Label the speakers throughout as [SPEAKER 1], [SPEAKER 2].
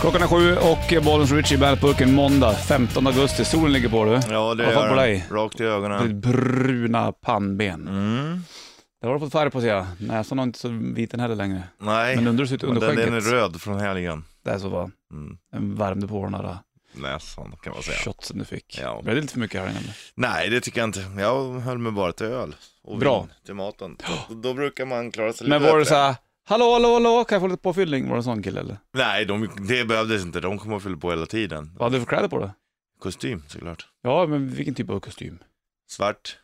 [SPEAKER 1] Klockan är sju och Bollens Richie i Bandetburken måndag 15 augusti. Solen ligger på du.
[SPEAKER 2] Ja, det
[SPEAKER 1] Vad fan
[SPEAKER 2] gör
[SPEAKER 1] på
[SPEAKER 2] den.
[SPEAKER 1] dig?
[SPEAKER 2] Rakt i
[SPEAKER 1] Ditt
[SPEAKER 2] ögonen.
[SPEAKER 1] bruna pannben.
[SPEAKER 2] Mm.
[SPEAKER 1] Där har du fått färg på ser jag. Näsan har inte så vit den heller längre.
[SPEAKER 2] Nej,
[SPEAKER 1] Men undrar du sitt
[SPEAKER 2] men
[SPEAKER 1] under
[SPEAKER 2] den, den är
[SPEAKER 1] skägget.
[SPEAKER 2] röd från helgen.
[SPEAKER 1] Det är så va?
[SPEAKER 2] Mm.
[SPEAKER 1] Den värmde på den där
[SPEAKER 2] Näsan kan man säga.
[SPEAKER 1] shotsen du fick.
[SPEAKER 2] Ja.
[SPEAKER 1] Blev det lite för mycket här inne?
[SPEAKER 2] Nej, det tycker jag inte. Jag höll mig bara till öl och
[SPEAKER 1] Bra.
[SPEAKER 2] vin till maten. Då, då brukar man klara sig
[SPEAKER 1] Men
[SPEAKER 2] lite
[SPEAKER 1] var det
[SPEAKER 2] bättre.
[SPEAKER 1] såhär, hallå hallå hallå, kan jag få lite påfyllning? Var det en sån kille eller?
[SPEAKER 2] Nej, de, det behövdes inte. De kommer att fylla på hela tiden.
[SPEAKER 1] Vad hade du för kläder på dig?
[SPEAKER 2] Kostym såklart.
[SPEAKER 1] Ja, men vilken typ av kostym?
[SPEAKER 2] Svart.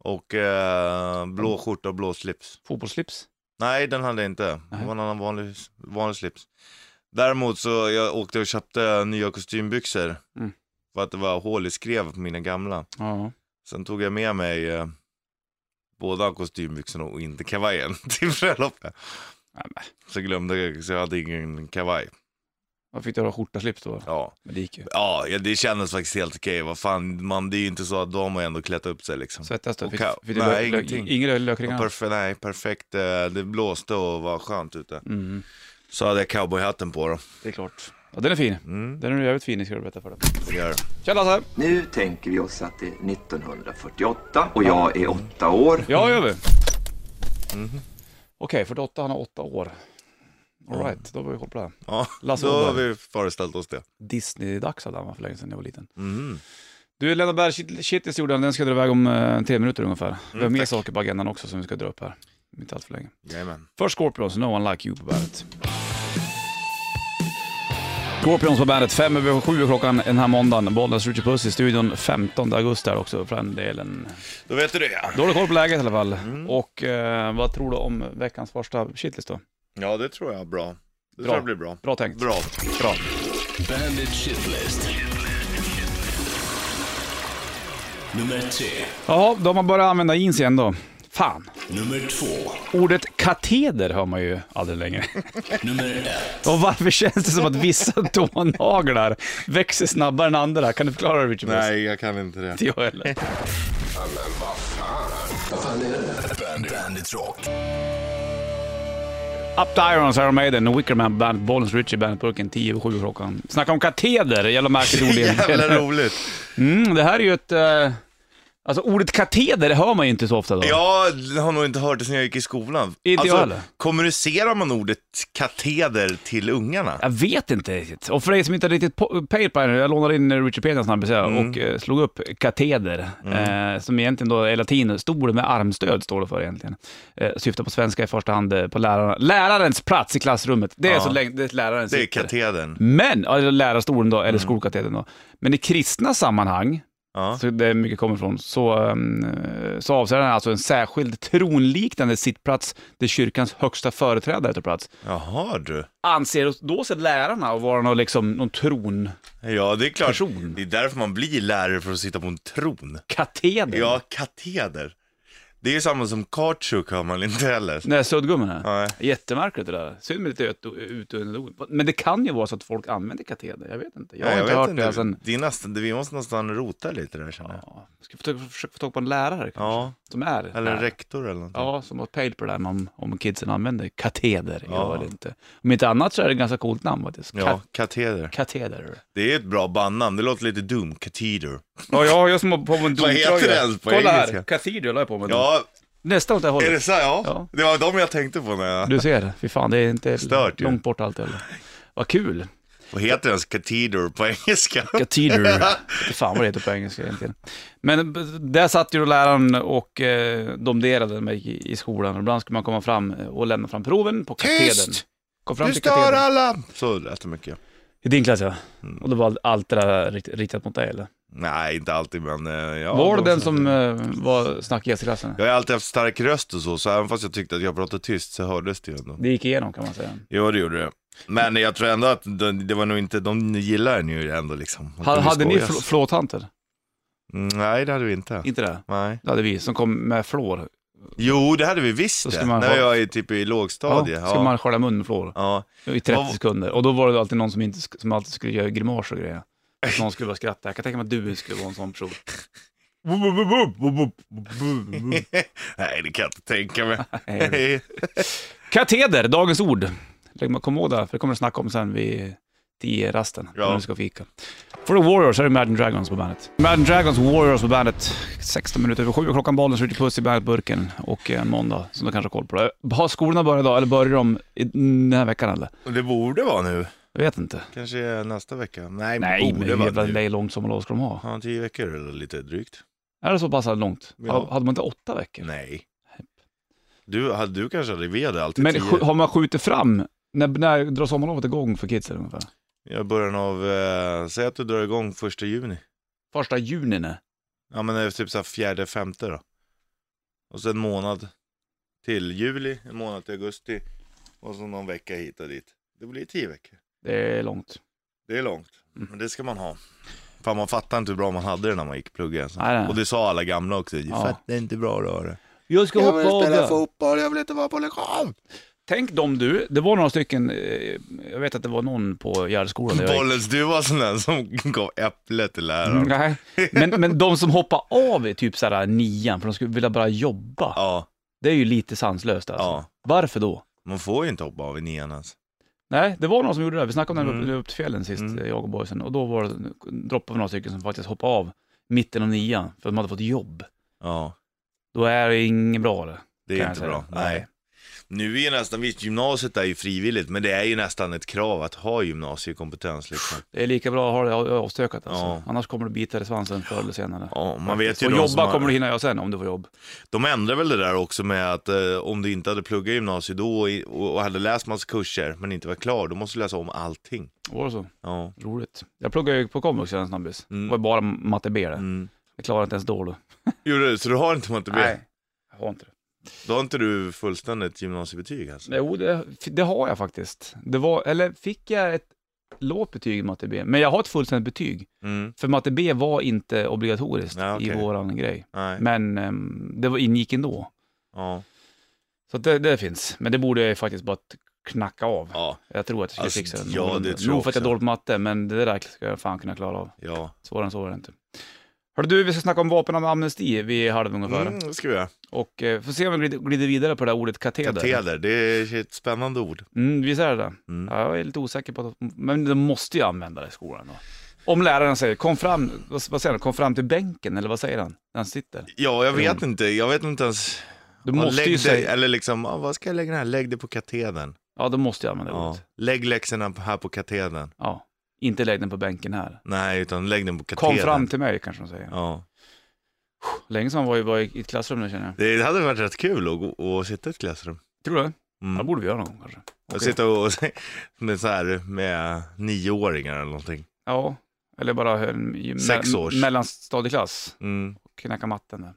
[SPEAKER 2] Och eh, blå skjorta och blå slips.
[SPEAKER 1] Fotbollsslips?
[SPEAKER 2] Nej, den hade jag inte. Det
[SPEAKER 1] Nej.
[SPEAKER 2] var en annan vanlig, vanlig slips. Däremot så jag åkte och köpte nya kostymbyxor.
[SPEAKER 1] Mm.
[SPEAKER 2] För att det var hål i skrev på mina gamla.
[SPEAKER 1] Ja.
[SPEAKER 2] Sen tog jag med mig eh, båda kostymbyxorna och inte kavajen till bröllopet.
[SPEAKER 1] Nej, men.
[SPEAKER 2] Så glömde jag, så jag hade ingen kavaj.
[SPEAKER 1] Vad fick du ha skjorta slips då?
[SPEAKER 2] Ja,
[SPEAKER 1] Men det gick ju.
[SPEAKER 2] ja ja, det kändes faktiskt helt okej. Vad fan, man, det är ju inte så att de har ändå klätt upp sig liksom.
[SPEAKER 1] Svettas du?
[SPEAKER 2] Och
[SPEAKER 1] Fick,
[SPEAKER 2] ka-
[SPEAKER 1] fick du
[SPEAKER 2] nej,
[SPEAKER 1] lö- lö-
[SPEAKER 2] ingenting.
[SPEAKER 1] Inga lö-
[SPEAKER 2] Ja,
[SPEAKER 1] lökringar?
[SPEAKER 2] perf- nej, perfekt. eh, Det blåste och var skönt ute.
[SPEAKER 1] Mm,
[SPEAKER 2] Så hade jag cowboyhatten på då.
[SPEAKER 1] det är klart. Ja, den är fin.
[SPEAKER 2] Mm,
[SPEAKER 1] Den är jävligt fin, ska du berätta för dig.
[SPEAKER 2] det gör det.
[SPEAKER 1] Tja Lasse!
[SPEAKER 3] Nu tänker vi oss att det är 1948 och jag är åtta år.
[SPEAKER 1] Ja, gör vi. Okej, 48, han har 8 år. Alright, då var vi koll på det. här.
[SPEAKER 2] Ja,
[SPEAKER 1] Lasse
[SPEAKER 2] då har
[SPEAKER 1] Åberg.
[SPEAKER 2] vi föreställt oss det.
[SPEAKER 1] Disney-dags hade han va, för länge sedan jag var liten.
[SPEAKER 2] Mm.
[SPEAKER 1] Du, Lennart Berg, shit- Shitlist gjorde han, den ska jag dra iväg om eh, tre minuter ungefär. Vi har
[SPEAKER 2] Mm,
[SPEAKER 1] mer
[SPEAKER 2] tack.
[SPEAKER 1] saker på agendan också som vi ska dra upp här. Inte allt för länge.
[SPEAKER 2] Jajamän.
[SPEAKER 1] Först Scorpions, No One Like You på bandet. Scorpions på bandet, fem över sju är klockan den här måndagen. Bollnäs Ritchie Puss i studion 15 augusti här också för den delen.
[SPEAKER 2] Då vet du det.
[SPEAKER 1] Då har du koll på läget i alla fall.
[SPEAKER 2] Mm.
[SPEAKER 1] Och eh, vad tror du om veckans första shitlist då?
[SPEAKER 2] Ja, det tror jag bra. Det
[SPEAKER 1] Bra.
[SPEAKER 2] tror jag blir bra.
[SPEAKER 1] Bra tänkt.
[SPEAKER 2] Bra.
[SPEAKER 1] Bra.
[SPEAKER 4] Bandit Shitlist. Nummer tre.
[SPEAKER 1] Jaha, då har man börjat använda jeans igen då. Fan.
[SPEAKER 4] Nummer två.
[SPEAKER 1] Ordet kateder hör man ju aldrig längre.
[SPEAKER 4] Nummer ett.
[SPEAKER 1] Och varför känns det som att vissa tånaglar växer snabbare än andra? Kan du förklara det Richard?
[SPEAKER 2] Nej, jag kan inte det.
[SPEAKER 1] Inte jag heller.
[SPEAKER 4] Bandit, Bandit Rock.
[SPEAKER 1] Up to Irons, Iron Maiden, Wickerman Band, Bollens Richie Band, Burken 10 över 7 klockan. Snacka om kateder, jävla märkligt ord
[SPEAKER 2] Jävla
[SPEAKER 1] egentligen.
[SPEAKER 2] roligt.
[SPEAKER 1] Mm, det här är ju ett... Eh, alltså ordet kateder det hör man ju inte så ofta då.
[SPEAKER 2] Jag har nog inte hört det sen jag gick i skolan. Alltså,
[SPEAKER 1] Inte jag heller.
[SPEAKER 2] kommunicerar man ordet kateder till ungarna?
[SPEAKER 1] Jag vet inte riktigt. Och för dig som inte har riktigt po- pejl på det här, jag lånade in eh, Wikipedia snabbt mm. och eh, slog upp kateder,
[SPEAKER 2] Mm.
[SPEAKER 1] eh, som egentligen då är latin, stol med armstöd står det för egentligen. Eh, syftar på svenska i första hand eh, på lärarna. lärarens plats i klassrummet. Det är
[SPEAKER 2] Ja.
[SPEAKER 1] så länge det är läraren
[SPEAKER 2] Det är
[SPEAKER 1] sitter.
[SPEAKER 2] katedern.
[SPEAKER 1] Men, eller lärarstolen då, eller skolkatedern då. Men i kristna sammanhang,
[SPEAKER 2] Mm. Ja.
[SPEAKER 1] så det är mycket kommer ifrån, så, um, så avser den alltså en särskild tronliknande sittplats där kyrkans högsta företrädare tar plats.
[SPEAKER 2] Jaha du.
[SPEAKER 1] Anser då sig lärarna att vara någon, liksom, någon tronkateder?
[SPEAKER 2] Ja, det är klart.
[SPEAKER 1] Person. Mm.
[SPEAKER 2] Det är därför man blir lärare, för att sitta på en tron. Ja, kateder. Det är ju samma som Kautschuk hör man inte heller.
[SPEAKER 1] Den där suddgummen här.
[SPEAKER 2] Nej.
[SPEAKER 1] Jättemärkligt det där. Synd med lite ut- utdöende ord. Men det kan ju vara så att folk använder kateder. Jag vet inte. Jag har
[SPEAKER 2] Nej,
[SPEAKER 1] inte
[SPEAKER 2] vet
[SPEAKER 1] hört det här sen...
[SPEAKER 2] Det är nästan, vi måste nästan rota lite där känner jag.
[SPEAKER 1] Ja. Ska försöka, försöka få tag på en lärare kanske.
[SPEAKER 2] Ja,
[SPEAKER 1] Som är
[SPEAKER 2] eller
[SPEAKER 1] lärare.
[SPEAKER 2] rektor eller någonting.
[SPEAKER 1] Ja, som har pejl på det där med om, om kidsen använder kateder. Ja.
[SPEAKER 2] Ja.
[SPEAKER 1] Eller inte. Om inte annat så är det ett ganska coolt namn faktiskt. Kat-
[SPEAKER 2] Ja, kateder.
[SPEAKER 1] Kateder.
[SPEAKER 2] Det är ett bra bandnamn, det låter lite dumt, kateder.
[SPEAKER 1] Ja, jag, jag som har på mig en
[SPEAKER 2] Vad heter
[SPEAKER 1] domtröja.
[SPEAKER 2] det ens på
[SPEAKER 1] Kolla här,
[SPEAKER 2] engelska?
[SPEAKER 1] kateder la jag på mig. Ja.
[SPEAKER 2] Ja,
[SPEAKER 1] Nästan åt det
[SPEAKER 2] är
[SPEAKER 1] hållet.
[SPEAKER 2] det så? Ja.
[SPEAKER 1] Ja.
[SPEAKER 2] det var de jag tänkte på när jag...
[SPEAKER 1] Du ser, fy fan det är inte
[SPEAKER 2] Stört ju.
[SPEAKER 1] långt bort allt heller. Vad kul.
[SPEAKER 2] Vad heter ens kateder på engelska?
[SPEAKER 1] Cathedral. Fy fan vad det heter på engelska egentligen. Men b- där satt ju då läraren och eh, domderade mig i- i skolan. Och Ibland skulle man komma fram och lämna fram proven på
[SPEAKER 2] Tyst!
[SPEAKER 1] katedern. Kom fram
[SPEAKER 2] Du
[SPEAKER 1] till
[SPEAKER 2] stör
[SPEAKER 1] katedern.
[SPEAKER 2] alla! Så lät det mycket.
[SPEAKER 1] I din klass ja. Och då var allt det där rikt- riktat mot dig eller?
[SPEAKER 2] Nej, inte alltid, men... eh, Ja,
[SPEAKER 1] var du
[SPEAKER 2] då-
[SPEAKER 1] den som eh, var snackigast i klassen?
[SPEAKER 2] Jag har alltid haft stark röst och så, så även fast jag tyckte att jag pratade tyst så hördes det ju ändå.
[SPEAKER 1] Det gick igenom kan man säga.
[SPEAKER 2] Jo, det gjorde det. Men jag tror ändå att de- det var nog inte, de gillar den ju ändå liksom. De
[SPEAKER 1] Ha,
[SPEAKER 2] kunde
[SPEAKER 1] hade ni
[SPEAKER 2] skojas.
[SPEAKER 1] fl- flårtanter?
[SPEAKER 2] Mm, Nej, det hade vi inte.
[SPEAKER 1] Inte det?
[SPEAKER 2] Nej.
[SPEAKER 1] Det hade vi som kom med flår.
[SPEAKER 2] Jo, det hade vi
[SPEAKER 1] Då
[SPEAKER 2] visst
[SPEAKER 1] ska
[SPEAKER 2] det.
[SPEAKER 1] man
[SPEAKER 2] När
[SPEAKER 1] ha-
[SPEAKER 2] jag är typ i
[SPEAKER 1] Ja,
[SPEAKER 2] lågstadiet.
[SPEAKER 1] skulle man skölja munnen med flår
[SPEAKER 2] ja.
[SPEAKER 1] i 30
[SPEAKER 2] Vad-
[SPEAKER 1] sekunder. Och då var det alltid någon som, inte, sk- som alltid skulle göra grimaser och grejer. Att någon skulle börja skratta. Jag kan tänka mig att du skulle vara en sån person.
[SPEAKER 2] Nej, det kan jag inte tänka mig.
[SPEAKER 1] Nej. Kateder, dagens ord. Lägg- Kom ihåg det, för det kommer att snacka om sen vid i rasten
[SPEAKER 2] Ja.
[SPEAKER 1] när du ska fika. For the Warriors är det Imagine Dragons på bandet. Imagine Dragons Warriors på bandet. 16 minuter över sju klockan bollen skjuter puss i bandetburken och eh, en måndag som du kanske har koll på. det. Har skolorna börjat idag eller börjar de i- den här veckan eller?
[SPEAKER 2] Och det borde vara nu.
[SPEAKER 1] Jag vet inte.
[SPEAKER 2] Kanske är nästa vecka. Nej,
[SPEAKER 1] Nej, men
[SPEAKER 2] borde
[SPEAKER 1] hur jävla
[SPEAKER 2] vara nu.
[SPEAKER 1] lej- långt sommarlov ska de ha?
[SPEAKER 2] Ja, tio veckor eller lite drygt.
[SPEAKER 1] Är det så pass långt?
[SPEAKER 2] Ja.
[SPEAKER 1] Ha- Hade man inte åtta veckor?
[SPEAKER 2] Nej. Du, hade du kanske hade, vi hade alltid
[SPEAKER 1] Men
[SPEAKER 2] tio.
[SPEAKER 1] sk- har man skjutit fram, när, när drar sommarlovet igång för kidsen ungefär?
[SPEAKER 2] I början av, eh, säg att du drar igång första juni.
[SPEAKER 1] Första juni nej.
[SPEAKER 2] Ja men det är typ så här fjärde, femte då. Och sen en månad till juli, en månad till augusti. Och så någon vecka hit och dit. Det blir tio veckor.
[SPEAKER 1] Det är långt.
[SPEAKER 2] Det är långt,
[SPEAKER 1] Mm.
[SPEAKER 2] men det ska man ha. Fan man fattar inte hur bra man hade det när man gick plugga. Alltså.
[SPEAKER 1] Nej, nej.
[SPEAKER 2] Och det sa alla gamla också. Jag
[SPEAKER 1] Ja.
[SPEAKER 2] fattar inte hur bra du har det.
[SPEAKER 1] Jag ska
[SPEAKER 2] fotboll, jag vill inte vara på lektion.
[SPEAKER 1] Tänk dem du, det var några stycken, eh, jag vet att det var någon på Gärdeskolan där jag gick.
[SPEAKER 2] Bollens, du var sån där som gav äpplet till läraren.
[SPEAKER 1] Nej, men, men de som hoppar av i typ såhär nian för de skulle vilja bara jobba.
[SPEAKER 2] Ja,
[SPEAKER 1] Det är ju lite sanslöst alltså.
[SPEAKER 2] ja.
[SPEAKER 1] Varför då?
[SPEAKER 2] Man får ju inte hoppa av i nian ens.
[SPEAKER 1] Nej, det var någon som gjorde det. Vi snackade om det
[SPEAKER 2] Mm.
[SPEAKER 1] mm. upp till fjällen sist,
[SPEAKER 2] Mm.
[SPEAKER 1] eh, jag och boysen. Och då var det, droppade vi några stycken som faktiskt hoppade av mitten av nian för att de hade fått jobb.
[SPEAKER 2] Ja,
[SPEAKER 1] Då är det inget bra det.
[SPEAKER 2] det
[SPEAKER 1] Kan
[SPEAKER 2] är
[SPEAKER 1] jag
[SPEAKER 2] inte
[SPEAKER 1] säga.
[SPEAKER 2] bra. Nej. Nu är ju nästan, visst gymnasiet är ju frivilligt, men det är ju nästan ett krav att ha gymnasiekompetens liksom.
[SPEAKER 1] Det är lika bra att ha det av- avstökat alltså.
[SPEAKER 2] Ja.
[SPEAKER 1] Annars kommer du bita dig i svansen förr eller senare.
[SPEAKER 2] Ja, man vet ju
[SPEAKER 1] och
[SPEAKER 2] de som
[SPEAKER 1] jobba
[SPEAKER 2] har-
[SPEAKER 1] kommer du hinna göra sen om du får jobb.
[SPEAKER 2] De ändrar väl det där också med att eh, om du inte hade pluggat gymnasiet då och, i- och och hade läst massa kurser men inte var klar, då måste du läsa om allting.
[SPEAKER 1] Var det så?
[SPEAKER 2] Ja.
[SPEAKER 1] Roligt. Jag pluggade ju på komvux en snabbis.
[SPEAKER 2] Mm.
[SPEAKER 1] Det var ju bara matte B det.
[SPEAKER 2] Mm.
[SPEAKER 1] Jag klarade inte ens då. då.
[SPEAKER 2] Gjorde du? Så du har inte matte B?
[SPEAKER 1] Jag har inte det.
[SPEAKER 2] Då har inte du fullständigt gymnasiebetyg alltså?
[SPEAKER 1] Jo, det, det har jag faktiskt. Det var, eller fick jag ett lågt betyg i matte B? Men jag har ett fullständigt betyg.
[SPEAKER 2] Mm.
[SPEAKER 1] För matte B var inte obligatoriskt
[SPEAKER 2] Ja, okej.
[SPEAKER 1] i våran grej.
[SPEAKER 2] Nej.
[SPEAKER 1] Men ehm, det var, ingick ändå.
[SPEAKER 2] Ja.
[SPEAKER 1] Så att det, det finns. Men det borde jag faktiskt bara t- knacka av.
[SPEAKER 2] Ja.
[SPEAKER 1] Jag tror att jag ska
[SPEAKER 2] Alltså,
[SPEAKER 1] fixa
[SPEAKER 2] ja,
[SPEAKER 1] det.
[SPEAKER 2] det
[SPEAKER 1] någorlunda.
[SPEAKER 2] tror jag
[SPEAKER 1] Nog för att jag är
[SPEAKER 2] också.
[SPEAKER 1] dålig på matte, men det där ska jag fan kunna klara av.
[SPEAKER 2] Ja.
[SPEAKER 1] Svårare än så är det inte. Hörru du, vi ska snacka om vapen och amnesti vid halv ungefär.
[SPEAKER 2] Mm, det ska vi göra.
[SPEAKER 1] Och eh, får se om vi glider- glider vidare på det där ordet kateder.
[SPEAKER 2] Kateder, det är ett spännande ord.
[SPEAKER 1] Mm, visst är det det?
[SPEAKER 2] Mm.
[SPEAKER 1] Ja, jag är lite osäker på att, men de måste ju använda det i skolan då. Om läraren säger, kom fram, vad, vad säger han, kom fram till bänken eller vad säger han? När han sitter.
[SPEAKER 2] Ja, jag vet inte. Jag vet inte ens.
[SPEAKER 1] Du
[SPEAKER 2] Ja,
[SPEAKER 1] måste
[SPEAKER 2] lägg
[SPEAKER 1] ju
[SPEAKER 2] dig,
[SPEAKER 1] säga,
[SPEAKER 2] Eller liksom, ah, vad ska jag lägga den här? Lägg det på katedern.
[SPEAKER 1] ja de måste ju använda
[SPEAKER 2] Ja.
[SPEAKER 1] ordet.
[SPEAKER 2] Lägg läxorna på- här på katedern.
[SPEAKER 1] Ja. Inte lägg den på bänken här.
[SPEAKER 2] Nej, utan lägg den på katedern.
[SPEAKER 1] Kom fram till mig kanske de säger.
[SPEAKER 2] Ja.
[SPEAKER 1] Länge sedan var jag var i ett klassrum nu känner jag.
[SPEAKER 2] Det hade varit rätt kul att, gå, att sitta i ett klassrum.
[SPEAKER 1] Tror du? Ja, det
[SPEAKER 2] Mm.
[SPEAKER 1] borde vi göra någon gång kanske.
[SPEAKER 2] Och
[SPEAKER 1] Okej.
[SPEAKER 2] sitta och, med, så här, med nioåringar eller någonting.
[SPEAKER 1] Ja, eller bara en me-
[SPEAKER 2] Sexårs.
[SPEAKER 1] mellanstadieklass.
[SPEAKER 2] Mm.
[SPEAKER 1] knäcka matten där.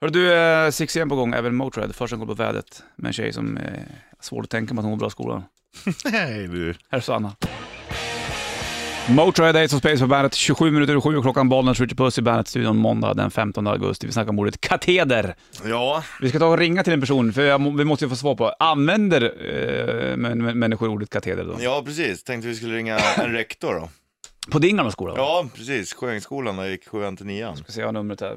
[SPEAKER 1] Hörru du, eh, 6 igen på gång, även Motörhead. Först en koll på vädret med en tjej som är svår att tänka på att hon går bra i skolan.
[SPEAKER 2] Nej du.
[SPEAKER 1] Här är Sanna. Motörhead, Ace of Space på bandet. 27 minuter över 7 och klockan bollen skjuter puss i bandet-studion måndag den 15 augusti. Vi snackar om ordet kateder.
[SPEAKER 2] Ja,
[SPEAKER 1] Vi ska ta och ringa till en person, för jag, må- vi måste ju få svar på, använder eh, men, men, människor ordet kateder då?
[SPEAKER 2] ja precis. Tänkte vi skulle ringa en rektor då.
[SPEAKER 1] På din gamla skola? va?
[SPEAKER 2] Ja, precis. Sjöängsskolan när jag gick sjuan till nian.
[SPEAKER 1] Ska se, jag har numret här.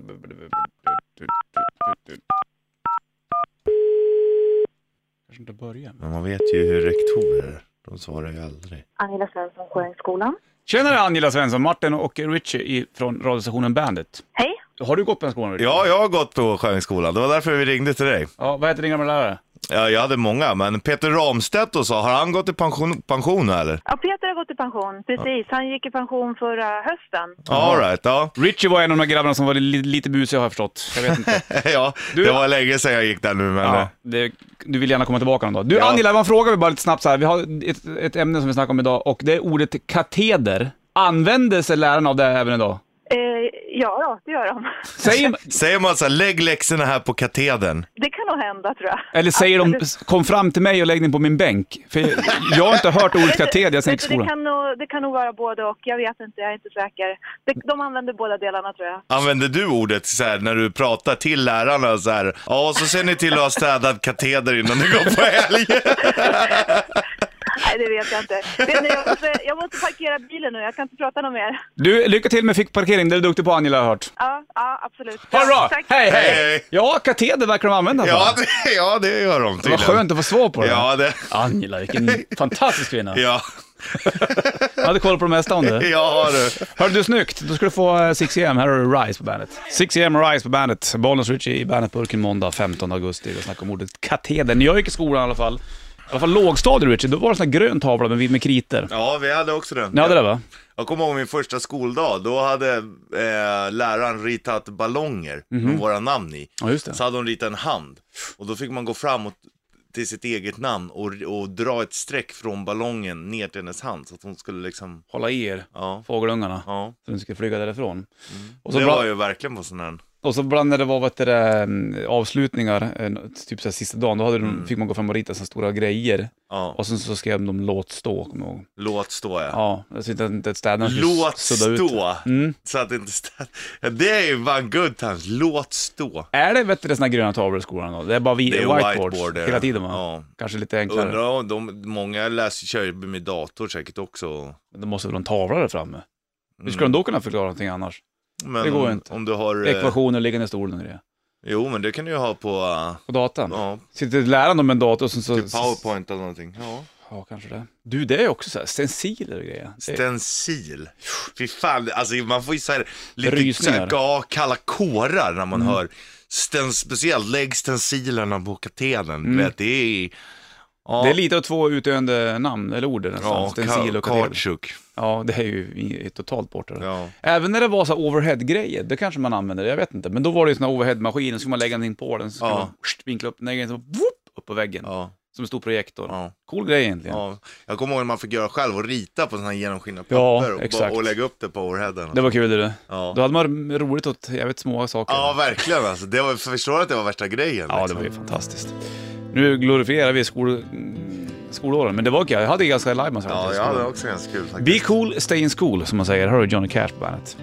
[SPEAKER 1] Kanske inte börja.
[SPEAKER 2] Men man vet ju hur rektorer, de svarar ju aldrig.
[SPEAKER 5] Angela Svensson, Sjöängsskolan.
[SPEAKER 1] Tjenare Angela Svensson, Martin och Richie i- från radiostationen Bandit.
[SPEAKER 5] Hej.
[SPEAKER 1] Har du gått på den skolan? Richie?
[SPEAKER 2] Ja, jag har gått på Sjöängsskolan. Det var därför vi ringde till dig.
[SPEAKER 1] ja. Vad heter din gamla lärare?
[SPEAKER 2] Ja, jag hade många, men Peter Ramstedt och så, har han gått i pension, pension nu, eller?
[SPEAKER 5] Ja, Peter har gått i pension. Precis, han gick i pension förra hösten.
[SPEAKER 2] All right, ja.
[SPEAKER 1] Richie var en av de här grabbarna som var li, lite busig har jag förstått. Jag vet inte.
[SPEAKER 2] ja.
[SPEAKER 1] Du-
[SPEAKER 2] Det var länge sedan jag gick där nu, men... eh,
[SPEAKER 1] ja, det, du vill gärna komma tillbaka någon dag. Du
[SPEAKER 2] Ja.
[SPEAKER 1] Angela, man frågar vi bara lite snabbt så här. Vi har ett, ett ämne som vi snackar om idag och det är ordet kateder. Använder sig lärarna av det även idag?
[SPEAKER 5] Eh, ja, ja, det gör de.
[SPEAKER 1] Säger,
[SPEAKER 2] Säger man så här, lägg läxorna här på katedern.
[SPEAKER 5] Det kan nog hända, tror jag.
[SPEAKER 1] eller säger de kom fram till mig och lägg den på min bänk? För jag, jag har inte hört ordet kateder, jag tänker
[SPEAKER 5] Vet du, det,
[SPEAKER 1] alltså skolan.
[SPEAKER 5] kan nog, det kan nog vara både och. Jag vet inte, jag är inte säker. De, de använder båda delarna, tror jag.
[SPEAKER 2] Använder du ordet så här när du pratar till lärarna så här, ja, så ser ni till att ha städat kateder innan ni går på helg.
[SPEAKER 5] Nej, det vet jag inte. Vet ni, jag, måste, jag måste parkera bilen nu, jag kan inte prata något mer.
[SPEAKER 1] Du, lycka till med fickparkering, det är du duktig på Angela har jag hört.
[SPEAKER 5] Ja, ja absolut.
[SPEAKER 1] Ha det bra!
[SPEAKER 5] Tack.
[SPEAKER 1] Hej, hej!
[SPEAKER 2] Hej, hej.
[SPEAKER 1] Ja, kateder verkar de använda.
[SPEAKER 2] ja,
[SPEAKER 1] fan.
[SPEAKER 2] det, ja, det gör de
[SPEAKER 1] det var
[SPEAKER 2] tydligen.
[SPEAKER 1] skönt att få svar på det.
[SPEAKER 2] Ja, det...
[SPEAKER 1] Angela, vilken fantastisk kvinna.
[SPEAKER 2] Ja.
[SPEAKER 1] Jag hade koll på det mesta om det.
[SPEAKER 2] Ja du.
[SPEAKER 1] Hörru du, snyggt. Då ska du få eh, 6am. Här har du Rise på bandet. 6am Rise på bandet. Bollnäs Ritchie i bandetburken måndag 15 augusti. Vi snackar om ordet kateder. När jag gick i skolan i alla fall, i alla fall lågstadiet Ritchie, då var det en sån här grön tavla med, med kriter.
[SPEAKER 2] Ja, vi hade också den.
[SPEAKER 1] Ni hade det va?
[SPEAKER 2] Jag kommer ihåg min första skoldag, då hade eh, läraren ritat ballonger med våra namn i.
[SPEAKER 1] Mhm. Ja, just det.
[SPEAKER 2] Så hade hon ritat en hand. Och då fick man gå framåt till sitt eget namn och, och dra ett streck från ballongen ner till hennes hand. Så att hon skulle liksom,
[SPEAKER 1] Hålla i er,
[SPEAKER 2] ja.
[SPEAKER 1] fågelungarna,
[SPEAKER 2] ja. Mm.
[SPEAKER 1] så ni ska flyga därifrån. Och så
[SPEAKER 2] Det
[SPEAKER 1] bra-
[SPEAKER 2] var ju verkligen på sån här.
[SPEAKER 1] Och så ibland när det var vad heter det, mm, avslutningar, eh, typ så här sista dagen, då hade de, fick man gå fram och rita så stora grejer.
[SPEAKER 2] Mm. Ja.
[SPEAKER 1] Och sen så skrev de låt stå, kommer jag ihåg.
[SPEAKER 2] Låt stå ja.
[SPEAKER 1] Ja, så inte, inte att städarna skulle
[SPEAKER 2] Låt
[SPEAKER 1] sudda ut.
[SPEAKER 2] stå!
[SPEAKER 1] Mm.
[SPEAKER 2] Så att det inte stä- Ja, Det är ju fan good times, låt stå.
[SPEAKER 1] Är det vet du, såna här gröna tavlor i skolan då? Det är bara vi,
[SPEAKER 2] Det är
[SPEAKER 1] whiteboards
[SPEAKER 2] whiteboard, det är
[SPEAKER 1] hela
[SPEAKER 2] det.
[SPEAKER 1] tiden va?
[SPEAKER 2] Ja.
[SPEAKER 1] Kanske lite enklare.
[SPEAKER 2] Undrar om de, många läser, kör ju med dator säkert också.
[SPEAKER 1] Men De måste väl ha en tavla där framme? Hur
[SPEAKER 2] Mm.
[SPEAKER 1] skulle de då kunna förklara någonting annars?
[SPEAKER 2] Men
[SPEAKER 1] Det går
[SPEAKER 2] om,
[SPEAKER 1] ju inte.
[SPEAKER 2] Om du har... eh,
[SPEAKER 1] Ekvationer liggande i stolen och det.
[SPEAKER 2] Jo, men det kan du ju ha på eh,
[SPEAKER 1] På datorn?
[SPEAKER 2] ja,
[SPEAKER 1] Sitter läraren då med en dator och sen så...
[SPEAKER 2] typ powerpoint eller någonting. Ja.
[SPEAKER 1] Ja, kanske det. Du, det är också så här, stenciler och grejer. Det-
[SPEAKER 2] Stencil. Fy fan, alltså man får ju så här, lite så
[SPEAKER 1] Rysningar. Mm.
[SPEAKER 2] här, ja, kalla kårar när man hör stens, speciellt lägg stencilerna på katedern. du Vet, det är... Ja,
[SPEAKER 1] Mm. Det är lite av två utdöende namn, eller ord nästan.
[SPEAKER 2] ja,
[SPEAKER 1] Stencil och kateder.
[SPEAKER 2] Kartsjuk.
[SPEAKER 1] Ja, det är ju i- totalt borta. det.
[SPEAKER 2] Ja.
[SPEAKER 1] Även när det var så här overhead-grejer, det kanske man använde det, jag vet inte. Men då var det ju såna här overhead-maskiner, så skulle man lägga någonting på den, så skulle
[SPEAKER 2] Ja.
[SPEAKER 1] man pssst, vinkla upp den där grejen, så whoop, upp på väggen.
[SPEAKER 2] Ja,
[SPEAKER 1] Som en stor projektor.
[SPEAKER 2] ja,
[SPEAKER 1] Cool grej egentligen.
[SPEAKER 2] ja. Jag kommer ihåg när man fick göra själv och rita på sådana här genomskinliga
[SPEAKER 1] Ja,
[SPEAKER 2] papper och, bara,
[SPEAKER 1] exakt.
[SPEAKER 2] och lägga upp det på overheaden.
[SPEAKER 1] Det var kul det du.
[SPEAKER 2] Ja.
[SPEAKER 1] Då hade man roligt åt jävligt små saker.
[SPEAKER 2] ja, verkligen alltså. Det var, förstår du att det var värsta grejen?
[SPEAKER 1] Ja, det
[SPEAKER 2] liksom?
[SPEAKER 1] var ju fantastiskt. Nu glorifierar vi skol... skolåren, men det var okej. Jag hade ganska live
[SPEAKER 2] Ja, jag hade också ganska kul faktiskt.
[SPEAKER 1] Be cool, stay in school, som man säger. Här har du Johnny Cash på bandet.